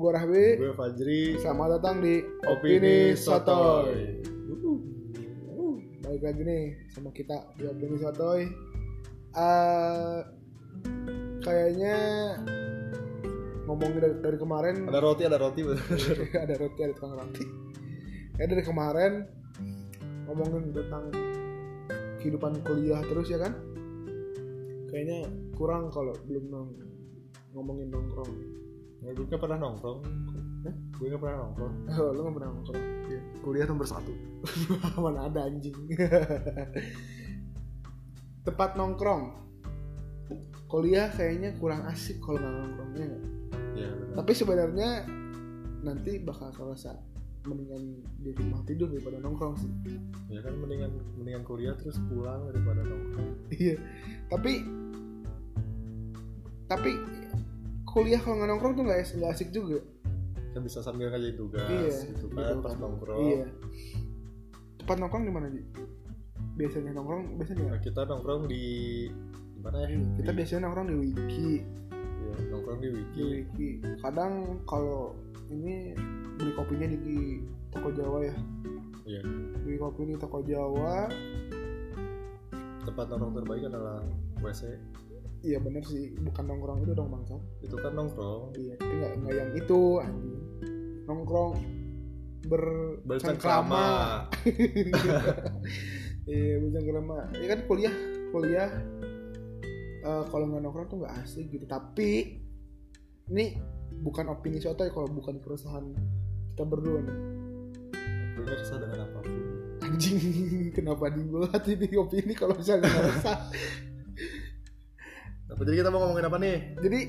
gue Rahbi. Gue Fajri. Selamat datang di Opini Sotoy. Uh, uh, Balik lagi nih sama kita di Opini Sotoy. Eh, kayaknya ngomongin dari, dari kemarin Ada roti, ada roti. ada roti ada tukang roti. Ya dari kemarin ngomongin tentang kehidupan kuliah terus ya kan? Kayaknya kurang kalau belum nong- ngomongin nongkrong. Nah, gue nggak pernah nongkrong. Hah? Gue nggak pernah nongkrong. Oh, lu gak pernah Iya. nongkrong? Kuliah nomor satu. Mana ada anjing. Tempat nongkrong. Kuliah kayaknya kurang asik kalau nggak nongkrongnya. nggak? Ya, benar. Tapi sebenarnya nanti bakal kerasa mendingan di rumah tidur daripada nongkrong sih. ya kan mendingan mendingan kuliah terus pulang daripada nongkrong. Iya. tapi tapi kuliah kalau nggak nongkrong tuh nggak as- nggak asik juga. Kan bisa sambil ngerjain tugas Iya, gitu gitu kan pas kan. nongkrong. Iya. Tempat nongkrong di mana Ji? Biasanya nongkrong biasanya. Nah, kita nongkrong di di mana ya? Kita Di- biasanya nongkrong di wiki. iya, nongkrong di wiki. di Wiki. kadang kalau ini beli kopinya di, di toko Jawa ya Iya. beli kopi di toko Jawa Tempat nongkrong terbaik adalah WC. iya bener sih bukan nongkrong itu dong bangsa Itu kan nongkrong iya tapi nggak nggak yang itu anjing nongkrong ber Kan bercengkrama. iya bercengkrama ya kan kuliah kuliah eh, kalau nggak nongkrong tuh nggak asik gitu tapi ini bukan opini sotoy kalau bukan keresahan kita berdua nih Gue kesal dengan apapun. anjing kenapa dibuat ini opini kalau misalnya nggak resah Apa jadi kita mau ngomongin apa nih? jadi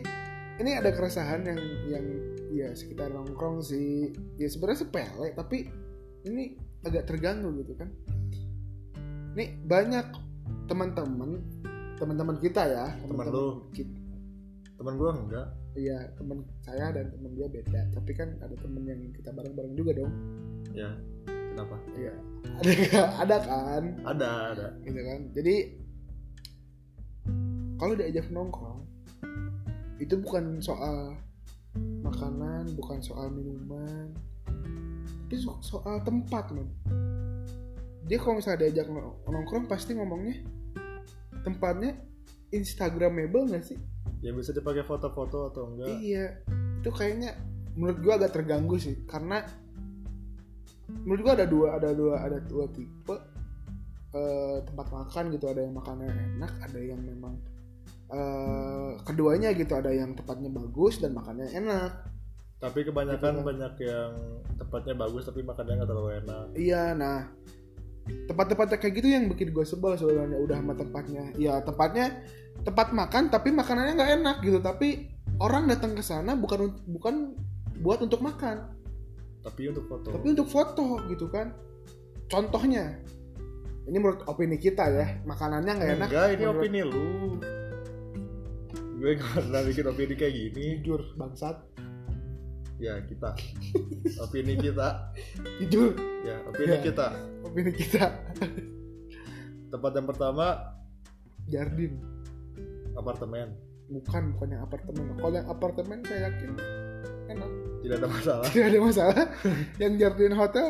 ini ada keresahan yang yang ya sekitar nongkrong sih ya sebenarnya sepele tapi ini agak terganggu gitu kan ini banyak teman-teman teman-teman kita ya Teman lu. kita, Teman gue enggak. iya teman saya dan teman dia beda tapi kan ada teman yang kita bareng-bareng juga dong Ya. Kenapa? iya ada ada kan Ada, ada. gitu kan jadi kalau diajak nongkrong itu bukan soal makanan bukan soal minuman tapi so- soal tempat men dia kalau misalnya diajak nong- nongkrong pasti ngomongnya tempatnya instagramable nggak sih yang Ya, bisa dipakai foto-foto atau enggak Iya, itu kayaknya menurut gua agak terganggu sih karena menurut gua ada dua ada dua ada dua tipe eh, tempat makan gitu ada yang makannya enak ada yang memang eh, keduanya gitu ada yang tempatnya bagus dan makannya enak tapi Gitu kan. kebanyakan banyak yang tempatnya bagus tapi makannya nggak terlalu enak Iya, nah tempat-tempat kayak gitu yang bikin gue sebel sebenarnya udah sama tempatnya. Ya tempatnya tempat makan tapi makanannya nggak enak gitu. Tapi orang datang ke sana bukan un- bukan buat untuk makan, tapi untuk foto tapi untuk foto gitu kan. Contohnya, ini menurut opini kita ya, makanannya nggak enak. enggak ini menurut- opini lu gue karena bikin opini kayak gini Jujur bangsat, ya kita opini kita jujur ya opini Ya. kita opini kita. tempat yang pertama Jardin apartemen bukan bukan yang apartemen. Kalau yang apartemen saya yakin enak. tidak ada masalah tidak ada masalah yang Jardin Hotel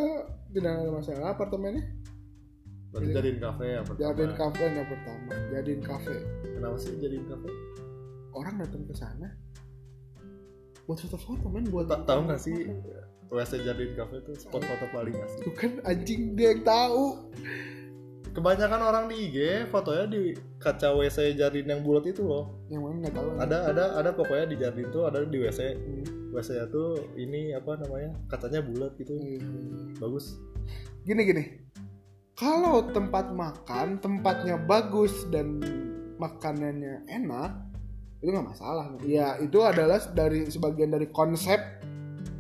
tidak ada masalah apartemennya berarti Iya. jadiin kafe apartemen Jardin Cafe yang pertama Jardin Cafe kenapa sih jadiin kafe orang datang ke sana buat foto-foto men buat Ta- tahu nggak sih WC jadiin kafe itu spot foto paling asik itu kan anjing dia yang tahu kebanyakan orang di IG fotonya di kaca WC jardin yang bulat itu loh yang mana nggak tahu ada ada ada pokoknya di jardin tuh ada di WC Hmm, WC nya tuh ini apa namanya katanya bulat gitu iya. bagus gini gini kalau tempat makan tempatnya bagus dan makanannya enak itu nggak masalah ya itu adalah dari sebagian dari konsep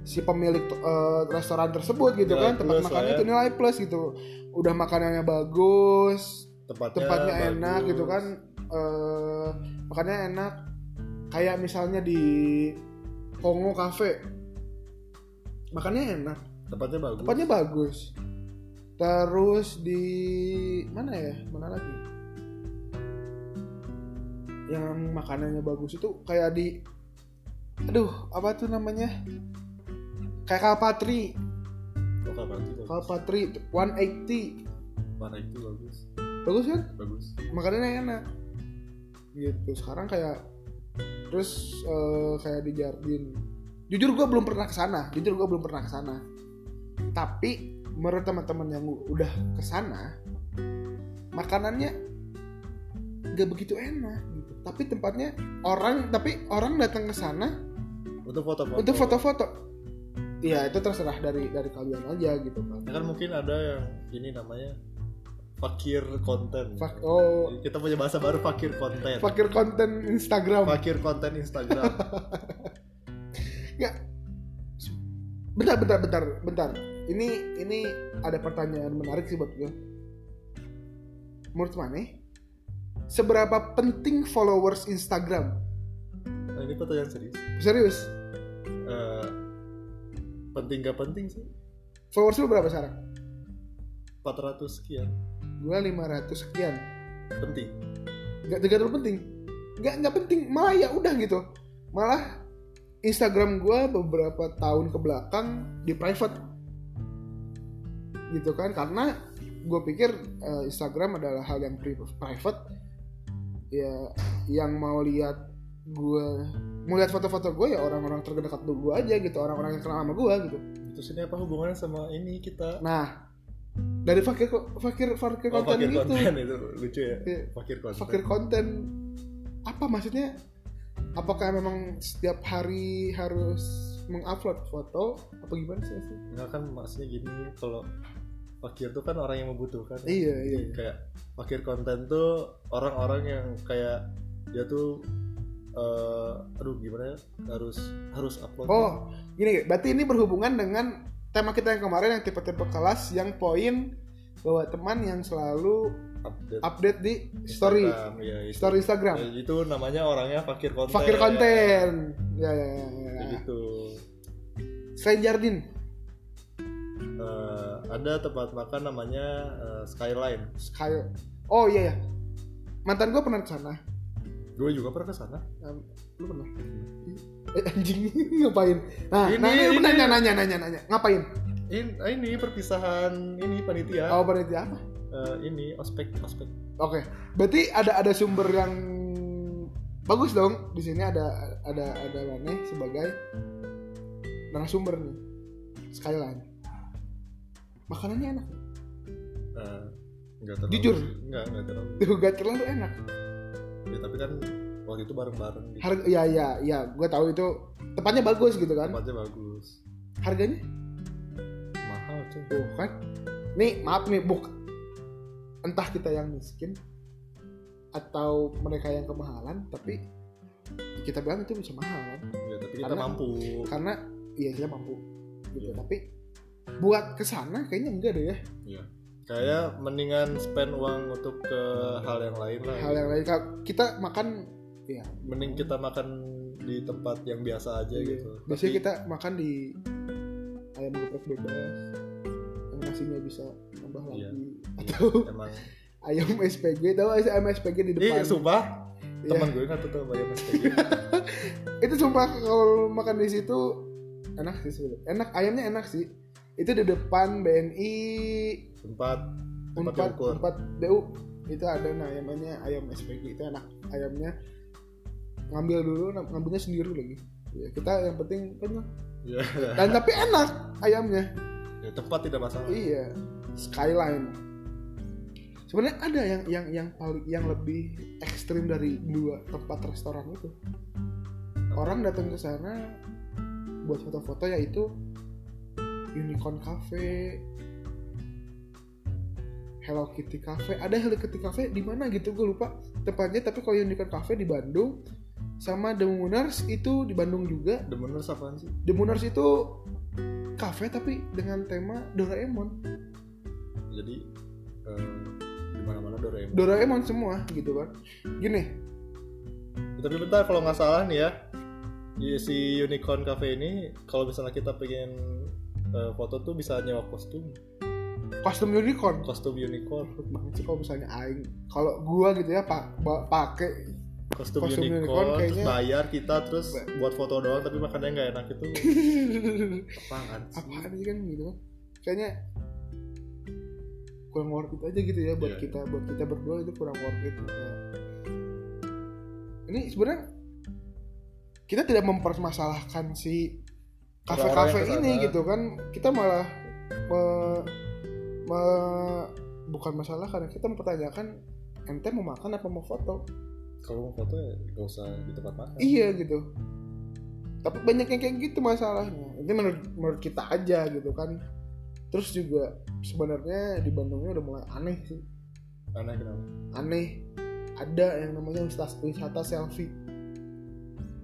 si pemilik eh, restoran tersebut gitu Nilai kan tempat plus lah makannya ya. itu nilai plus gitu udah makanannya bagus tempatnya, tempatnya Ya, bagus. enak gitu kan eh makannya enak kayak misalnya di Kongo Cafe makannya enak tempatnya bagus tempatnya bagus terus di mana ya mana lagi yang makanannya bagus itu kayak di aduh apa tuh namanya kayak Kalpatri Oh, Kalpatri bagus. Kalpatri 180 Mana itu bagus. bagus kan Bagus. makanannya enak gitu sekarang kayak terus eh, kayak di Jardin jujur gue belum pernah kesana jujur gue belum pernah kesana tapi menurut teman-teman yang udah kesana makanannya gak begitu enak gitu. tapi tempatnya orang tapi orang datang ke sana Untuk foto-foto. untuk foto-foto ya itu terserah dari dari kalian aja gitu kan Ya kan mungkin ada yang ini namanya fakir konten. Fak- oh Kita punya bahasa baru fakir konten. fakir konten Instagram Fakir konten Instagram. bentar bentar bentar bentar ini ini ada pertanyaan menarik sih buat gue menurut mana seberapa penting followers Instagram Nah, ini pertanyaan serius. serius Eh, penting gak penting sih? followers lu berapa sekarang 400 sekian. gue 500 sekian Penting. nggak nggak terlalu penting nggak nggak penting malah ya udah gitu malah Instagram gue beberapa tahun ke belakang di private gitu kan karena gue pikir eh, Instagram adalah hal yang pri- private ya yang mau lihat gue mau lihat foto-foto gue ya orang-orang terdekat gue aja gitu orang-orang yang kenal sama gue gitu Terus ini apa hubungannya sama ini kita? nah dari fakir fakir fakir Oh, konten fakir gitu konten itu lucu ya. Iya. Fakir konten. fakir konten apa maksudnya apakah memang setiap hari harus mengupload foto apa gimana sih sih? Enggak kan maksudnya gini kalau fakir tuh kan orang yang membutuhkan. ya. iya iya Jadi kayak fakir konten tuh orang-orang yang kayak dia tuh eh, aduh gimana ya harus harus upload oh gini berarti ini berhubungan dengan tema kita yang kemarin yang tipe-tipe kelas yang poin bahwa teman yang selalu update update di story Instagram, ya, itu. story Ya, Instagram itu namanya orangnya fakir konten fakir konten ya ya ya, Ya, ya. gitu selain Jardin Eh, ada tempat makan namanya eh, Skyline Sky oh iya ya mantan gue pernah kesana gue juga pernah ke sana Em, lu pernah eh, anjing ngapain nah Ini, nanya, ini. nanya nanya nanya nanya ngapain In- ini perpisahan ini panitia oh berarti apa Eh, ini ospek ospek oke berarti ada ada sumber yang bagus dong di sini ada ada ada Lane sebagai narasumber nih Skyline makanannya enak Eh, nggak terlalu Jujur? nggak nggak terlalu tuh gak terlalu enak Ya, tapi kan waktu itu bareng bareng gitu. harga ya ya ya gue tahu itu tempatnya bagus gitu kan tempatnya bagus harganya mahal cuy tuh kan nih maaf nih buk entah kita yang miskin atau mereka yang kemahalan tapi kita bilang itu bisa mahal kan? ya, tapi kita Karena- mampu karena iya kita mampu gitu Iya. tapi buat kesana kayaknya enggak deh ya kayak mendingan spend uang untuk ke hal yang lain lah hal yang lain Kalau kita makan ya mending kita makan di tempat yang biasa aja Iya. gitu biasanya Tapi kita makan di ayam geprek bebas yang nasinya bisa nambah lagi Iya. atau emang ayam SPG tahu ayam SPG di ih depan sumpah Iya. teman gue nggak tahu tuh bayar mas itu sumpah kalau makan di situ enak sih sebenarnya enak ayamnya enak sih itu di depan BNI tempat tempat empat ukur empat DU itu ada nah namanya ayam SPG itu enak ayamnya ngambil dulu nam- ngambilnya sendiri lagi ya, kita yang penting kenyang ya, dan tapi enak ayamnya ya, tempat tidak masalah iya skyline sebenarnya ada yang yang yang paling yang lebih ekstrim dari dua tempat restoran itu orang datang ke sana buat foto-foto yaitu unicorn cafe Hello Kitty Cafe ada Hello Kitty Cafe di mana gitu gue lupa tempatnya tapi kalau unicorn cafe di Bandung sama The Mooners itu di Bandung juga demeners apaan sih The Mooners itu cafe tapi dengan tema Doraemon jadi eh, di mana mana Doraemon Doraemon semua gitu kan gini Tapi bentar kalau nggak salah nih ya di- si Unicorn Cafe ini kalau misalnya kita pengen eh, foto tuh bisa nyewa kostum kostum unicorn kostum unicorn banget sih kalau misalnya aing kalau gua gitu ya pak pakai kostum, Kostum unicorn, unicorn terus kayaknya- bayar kita terus Ba- buat foto doang tapi makannya nggak enak itu apaan sih? apaan sih kan gitu kan kayaknya kurang worth it aja gitu ya buat Iya. kita buat kita berdua itu kurang worth it Kayak, ini sebenarnya kita tidak mempermasalahkan si kafe-kafe Orang-orang yang ini kesana. gitu kan kita malah me- me- bukan masalah karena kita mempertanyakan ente mau makan apa mau foto kalau mau foto ya nggak usah di tempat makan iya gitu tapi banyak yang kayak gitu masalahnya ini menurut menurut kita aja gitu kan terus juga sebenarnya di Bandungnya udah mulai aneh sih aneh kenapa aneh ada yang namanya wisata, wisata selfie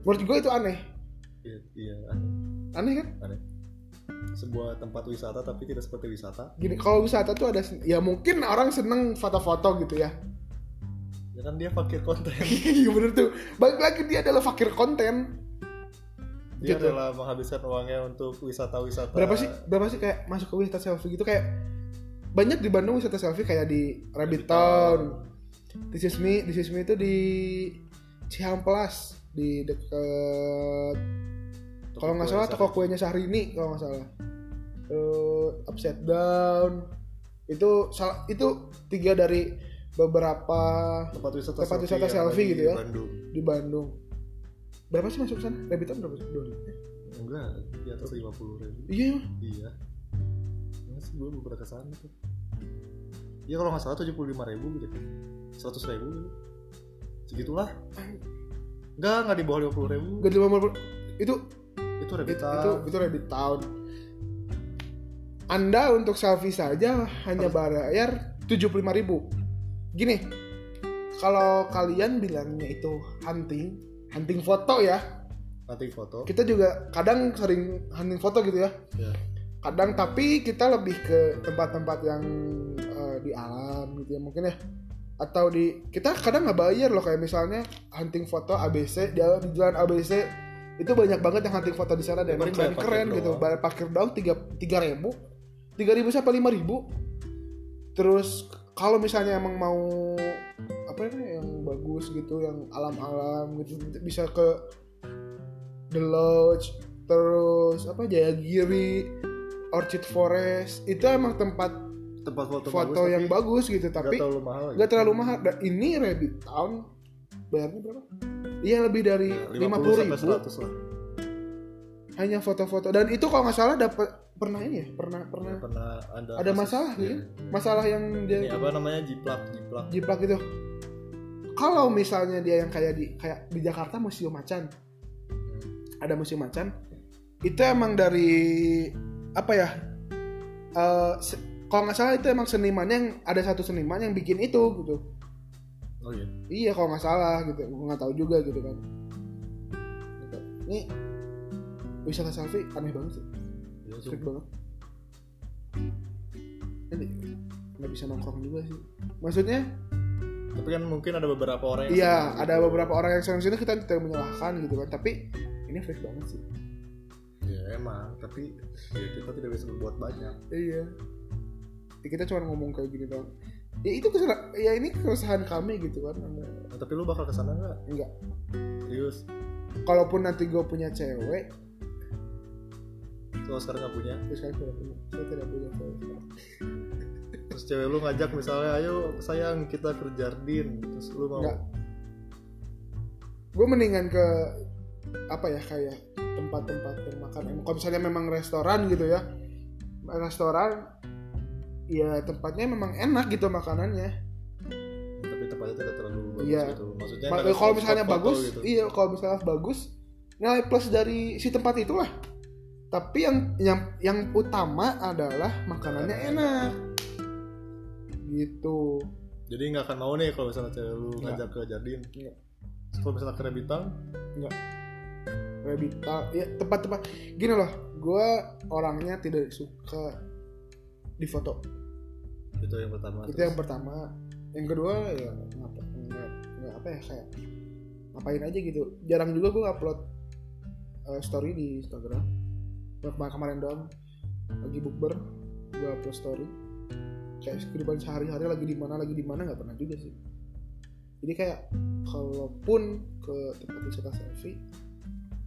menurut gue itu aneh iya, iya aneh. aneh kan sebuah tempat wisata tapi tidak seperti wisata gini kalau wisata tuh ada sen- ya mungkin orang seneng foto-foto gitu ya ya kan dia fakir konten iya bener tuh balik lagi dia adalah fakir konten dia Gitu. rela menghabiskan uangnya untuk wisata-wisata berapa sih berapa sih kayak masuk ke wisata selfie gitu kayak banyak di Bandung wisata selfie kayak di Rabbit Town This is me, this is me itu di Cihampelas di deket Toko kalau nggak kue salah besar. toko kuenya Syahrini kalau nggak salah. Terus upside down itu salah itu tiga dari beberapa tempat wisata Tempat wisata yang selfie ada di gitu ya. Bandung di Bandung. Berapa sih masuk sana? Rabbit Town berapa sih? Dua ribu. enggak di atas lima puluh ribu Iya, iya Enggak sih gue beberapa kesana tuh Iya kalau nggak salah tujuh puluh lima ribu gitu seratus ribu gitu segitulah enggak enggak di bawah lima puluh ribu gak lima puluh. Itu itu itu rebita itu, itu Rabbit Town. Anda untuk selfie saja hanya bayar 75.000. Gini, kalau kalian bilangnya itu hunting, hunting foto ya. nanti foto Kita juga kadang sering hunting foto gitu ya. ya. Kadang tapi kita lebih ke tempat-tempat yang eh, di alam gitu ya mungkin ya. Atau di kita kadang nggak bayar loh kayak misalnya hunting foto ABC di, di jalan ABC itu banyak banget yang hunting foto di sana dan Paling keren bayar parkir keren gitu doang. bayar parkir doang tiga tiga ribu tiga ribu sampai lima ribu terus kalau misalnya emang mau apa ya yang bagus gitu yang alam-alam gitu bisa ke The Lodge terus apa Jayagiri Orchid Forest itu emang tempat tempat foto, foto yang bagus gitu tapi tapi nggak terlalu mahal ya. nggak terlalu mahal dan ini Rabbit Town bayarnya berapa? Iya lebih dari lima puluh Ya, sampai ribu seratus lah hanya foto-foto dan itu kalau nggak salah dapat pernah ini ya pernah pernah Ya, pernah ada ada kasus- masalah Iya. gitu masalah yang dia ini apa namanya jiplak jiplak jiplak gitu kalau misalnya dia yang kayak di kayak di Jakarta museum macan ada museum macan itu emang dari apa ya eh, se- kalau nggak salah itu emang senimannya yang ada satu seniman yang bikin itu gitu oh iya iya kalau nggak salah gitu gue nggak tahu juga gitu kan Gitu. ini wisata selfie aneh banget sih Iya, freak sumpah. banget Ini nggak bisa nongkrong juga sih maksudnya tapi kan mungkin ada beberapa orang yang Iya, senang ada gitu. beberapa orang yang sering sini kita tidak menyalahkan gitu kan, tapi ini freak banget sih. ya emang tapi ya, kita tidak bisa berbuat banyak Iya. Ya, kita cuma ngomong kayak gini doang. Ya itu kesalahan, ya ini keresahan kami gitu kan. Nah, tapi lu bakal kesana nggak Enggak. serius Kalaupun nanti gue punya cewek, kalau sekarang nggak punya terus kan tidak punya, saya tidak punya cewek. terus cewek lu ngajak misalnya ayo sayang kita ke jardin terus lu mau Nggak. Gue mendingan ke apa ya kayak tempat-tempat yang makan. Emang Kalau misalnya memang restoran gitu ya, restoran, ya tempatnya memang enak gitu makanannya. tapi tempatnya tidak terlalu bagus Iya. gitu maksudnya Ma- nggak ada kalau spot misalnya foto bagus, gitu. iya kalau misalnya bagus, nilai plus dari si tempat itulah. Tapi yang yang yang utama adalah makanannya enak. Gitu. jadi nggak akan mau nih kalau misalnya cewek lu Nggak. Iya. ngajak ke jardin Nggak. Terus kalau misalnya ke Rebitang Rebita, ya tempat-tempat gini loh, gue orangnya tidak suka di foto. itu yang pertama Itu Terus yang pertama. Yang kedua ya ngapa nggak- nggak apa ya kayak ngapain aja gitu. Jarang juga gue upload eh, story di Instagram. Kemarin kemarin doang lagi bukber gue upload story kayak kehidupan sehari-hari lagi di mana lagi di mana nggak pernah juga sih jadi kayak kalaupun ke tempat wisata selfie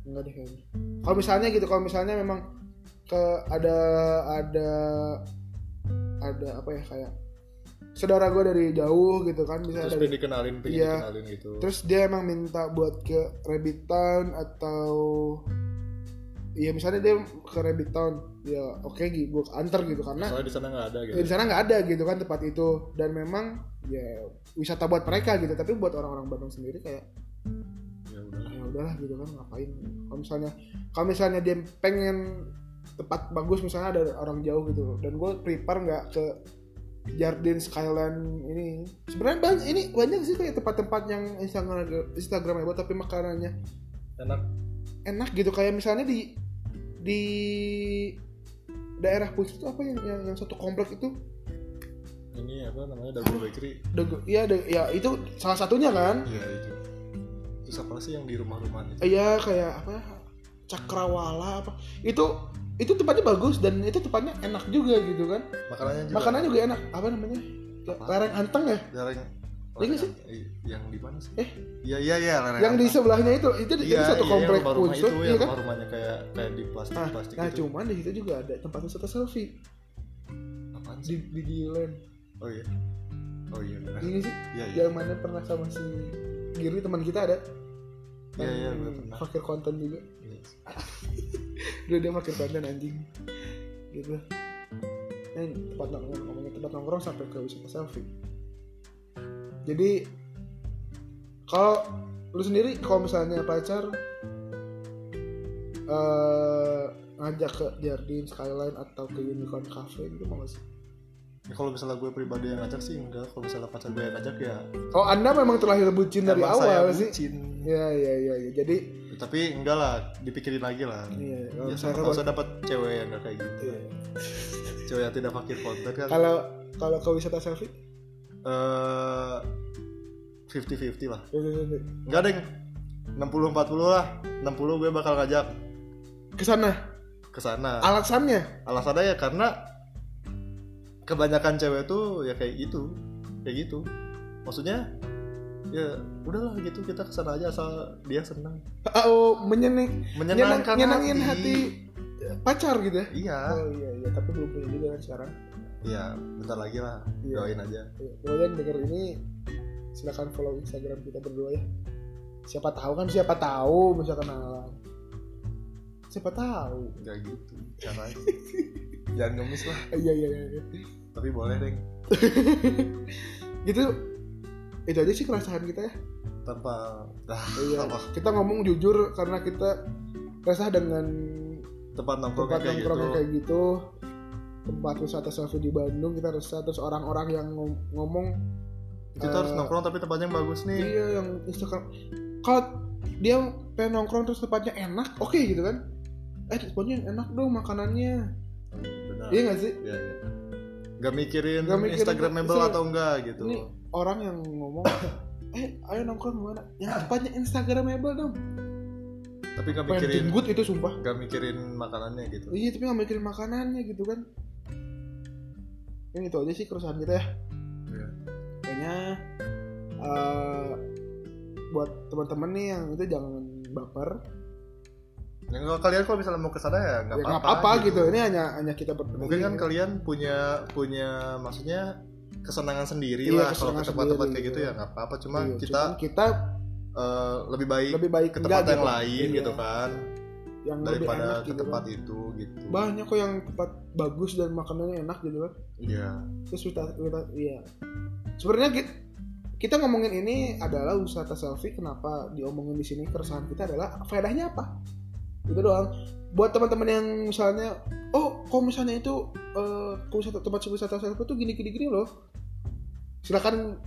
enggak deh kayaknya kalau misalnya gitu kalau misalnya memang ke ada ada ada apa ya kayak saudara gue dari jauh gitu kan bisa terus dari pengen dikenalin pengen Iya. dikenalin gitu Terus dia emang minta buat ke Rabbit Town atau ya misalnya dia ke Rabbit Town ya oke gue antar gitu karena soalnya di sana nggak ada gitu ya di sana nggak ada gitu kan tempat itu dan memang ya wisata buat mereka gitu tapi buat orang-orang Bandung sendiri kayak ya udah ya udahlah gitu kan ngapain kalau misalnya kalau misalnya dia pengen tempat bagus misalnya ada orang jauh gitu dan gue prepare nggak ke Jardin Skyland ini sebenarnya banyak ini banyak sih kayak tempat-tempat yang Instagram Instagramable tapi makanannya enak enak gitu kayak misalnya di di daerah Puncak itu apa yang, yang yang satu komplek itu ini apa namanya double bakery Dago- iya ada ya itu salah satunya kan iya itu terus apa sih yang di rumah-rumah itu iya kayak apa cakrawala apa itu itu tempatnya bagus dan itu tempatnya enak juga gitu kan makanannya juga makanannya juga enak apa namanya Apa? lereng anteng ya jarang Iya nggak sih? yang di mana sih Eh? iya iya iya lereng yang di atas. sebelahnya itu itu itu satu komplek Iya, yang rumah-rumah Woodstock, itu iya yang kan rumah-rumahnya kayak kayak di plastik nah, plastik gitu. nah itu cuman di situ juga ada tempat wisata selfie apaan di sih di Gilen oh iya oh iya benar ini sih iya iya yang mana pernah sama si Giri teman kita ada iya iya gue Yang pernah fakir konten juga Iya. dulu dia fakir konten anjing gitu nah, ini tempat nongkrong ngomongin tempat nongkrong sampai ke wisata selfie jadi kalau lu sendiri kalau misalnya pacar eh ngajak ke Jardin Skyline atau ke Unicorn Cafe gitu mau gak sih? Ya, kalau misalnya gue pribadi yang ngajak sih enggak kalau misalnya pacar gue yang ngajak ya Oh anda memang terlahir bucin dari emang saya awal sih? bucin. Ya ya ya, ya. jadi tapi enggak lah dipikirin lagi lah iya, kalau ya misalnya siapa tahu saya dapat cewek yang enggak kayak gitu iya. cewek yang tidak fakir konten kan kalau kalau ke wisata selfie fifty fifty Eh, lah ya, ya, ya. enggak deh 60 40 lah 60 gue bakal ngajak ke sana ke sana Ah. alasannya alasannya ya karena kebanyakan cewek tuh ya kayak gitu kayak gitu maksudnya ya udahlah gitu kita kesana aja asal dia senang oh menyeneng nyenang, menyenangkan nyenengin hati. pacar gitu ya iya oh iya iya tapi belum punya juga kan sekarang ya bentar lagi lah Iya. doain aja Iya, kalian denger ini silahkan follow instagram kita berdua ya siapa tahu kan siapa tahu bisa kenalan siapa tahu nggak gitu caranya jangan ngemis lah Eh, iya iya iya iya. tapi boleh deh gitu itu aja sih keresahan kita ya tanpa dah Eh, iya Apa? kita ngomong jujur karena kita resah dengan tempat nongkrong tempat kayak gitu nongkrong kayak gitu tempat wisata selfie di Bandung kita resah terus orang-orang yang ngom- ngomong kita harus nongkrong tapi tempatnya yang bagus nih iya yang Instagram kalau dia pengen nongkrong terus tempatnya enak oke gitu kan eh tempatnya enak dong makanannya benar iya gak sih Iya, iya. nggak mikirin, Nggak mikirin Instagramable itu. atau enggak gitu Ini orang yang ngomong eh ayo nongkrong di mana yang tempatnya Instagramable dong tapi nggak pengen mikirin jenggut itu sumpah nggak mikirin makanannya gitu iya tapi gak mikirin makanannya gitu kan ini itu aja sih keresahan kita ya Iya. kayaknya eh, buat teman-teman nih yang itu jangan baper ya, kalau kalian kalau misalnya mau kesana ya nggak ya nggak apa-apa apa-apa gitu. ini hanya hanya kita berdua mungkin kan Iya. kalian punya punya maksudnya kesenangan sendiri Iya, lah kalau kesenangan ke tempat-tempat sendiri, kayak gitu iya. ya nggak apa-apa cuma Iya, kita cuman kita eh, lebih baik lebih baik ke enggak tempat yang gitu. lain Iya. gitu kan yang lebih daripada enak ke gitu tempat kan. itu gitu banyak kok yang tempat bagus dan makanannya enak gitu kan Iya. terus kita kita iya sebenarnya kita, kita ngomongin ini adalah wisata selfie kenapa diomongin di sini keresahan kita adalah faedahnya apa itu doang buat teman-teman yang misalnya oh kok misalnya itu eh, ke wisata tempat wisata selfie tuh gini gini gini loh silakan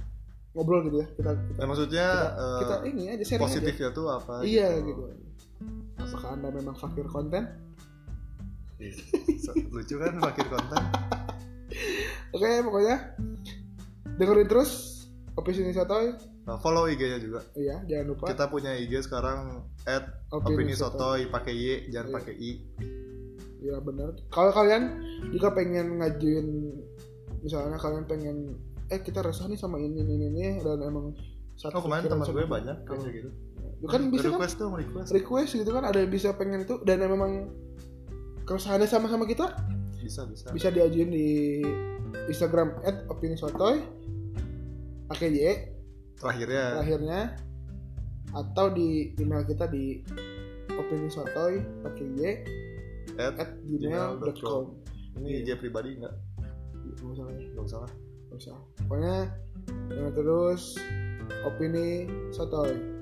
ngobrol gitu ya kita kita, Ya, maksudnya eh, kita ini aja sharing aja. positifnya tuh apa iya gitu apakah anda memang fakir konten Iya. So- lucu kan makin konten oke pokoknya dengerin terus opini sotoy Nah, follow IG-nya juga iya jangan lupa kita punya IG sekarang at opini sotoy pakai Y jangan Iya. pakai I Ya benar. Kalau kalian jika pengen ngajuin misalnya kalian pengen eh kita resah nih sama ini ini ini dan emang Saat Oh kemarin pikiran teman sama- gue banyak kayak Oh. gitu. Lu kan bisa kan request tuh mau request. request gitu kan ada yang bisa pengen itu dan memang keresahannya sama-sama kita Bisa bisa. bisa diajuin di Instagram at opini sotoy pakai Y Terakhirnya terakhirnya atau di email kita di opini sotoy pakai Y at at gmail.com iya. ini dia pribadi nggak Nggak usah lah ya, nggak usah lah. nggak usah. pokoknya jangan terus opini sotoy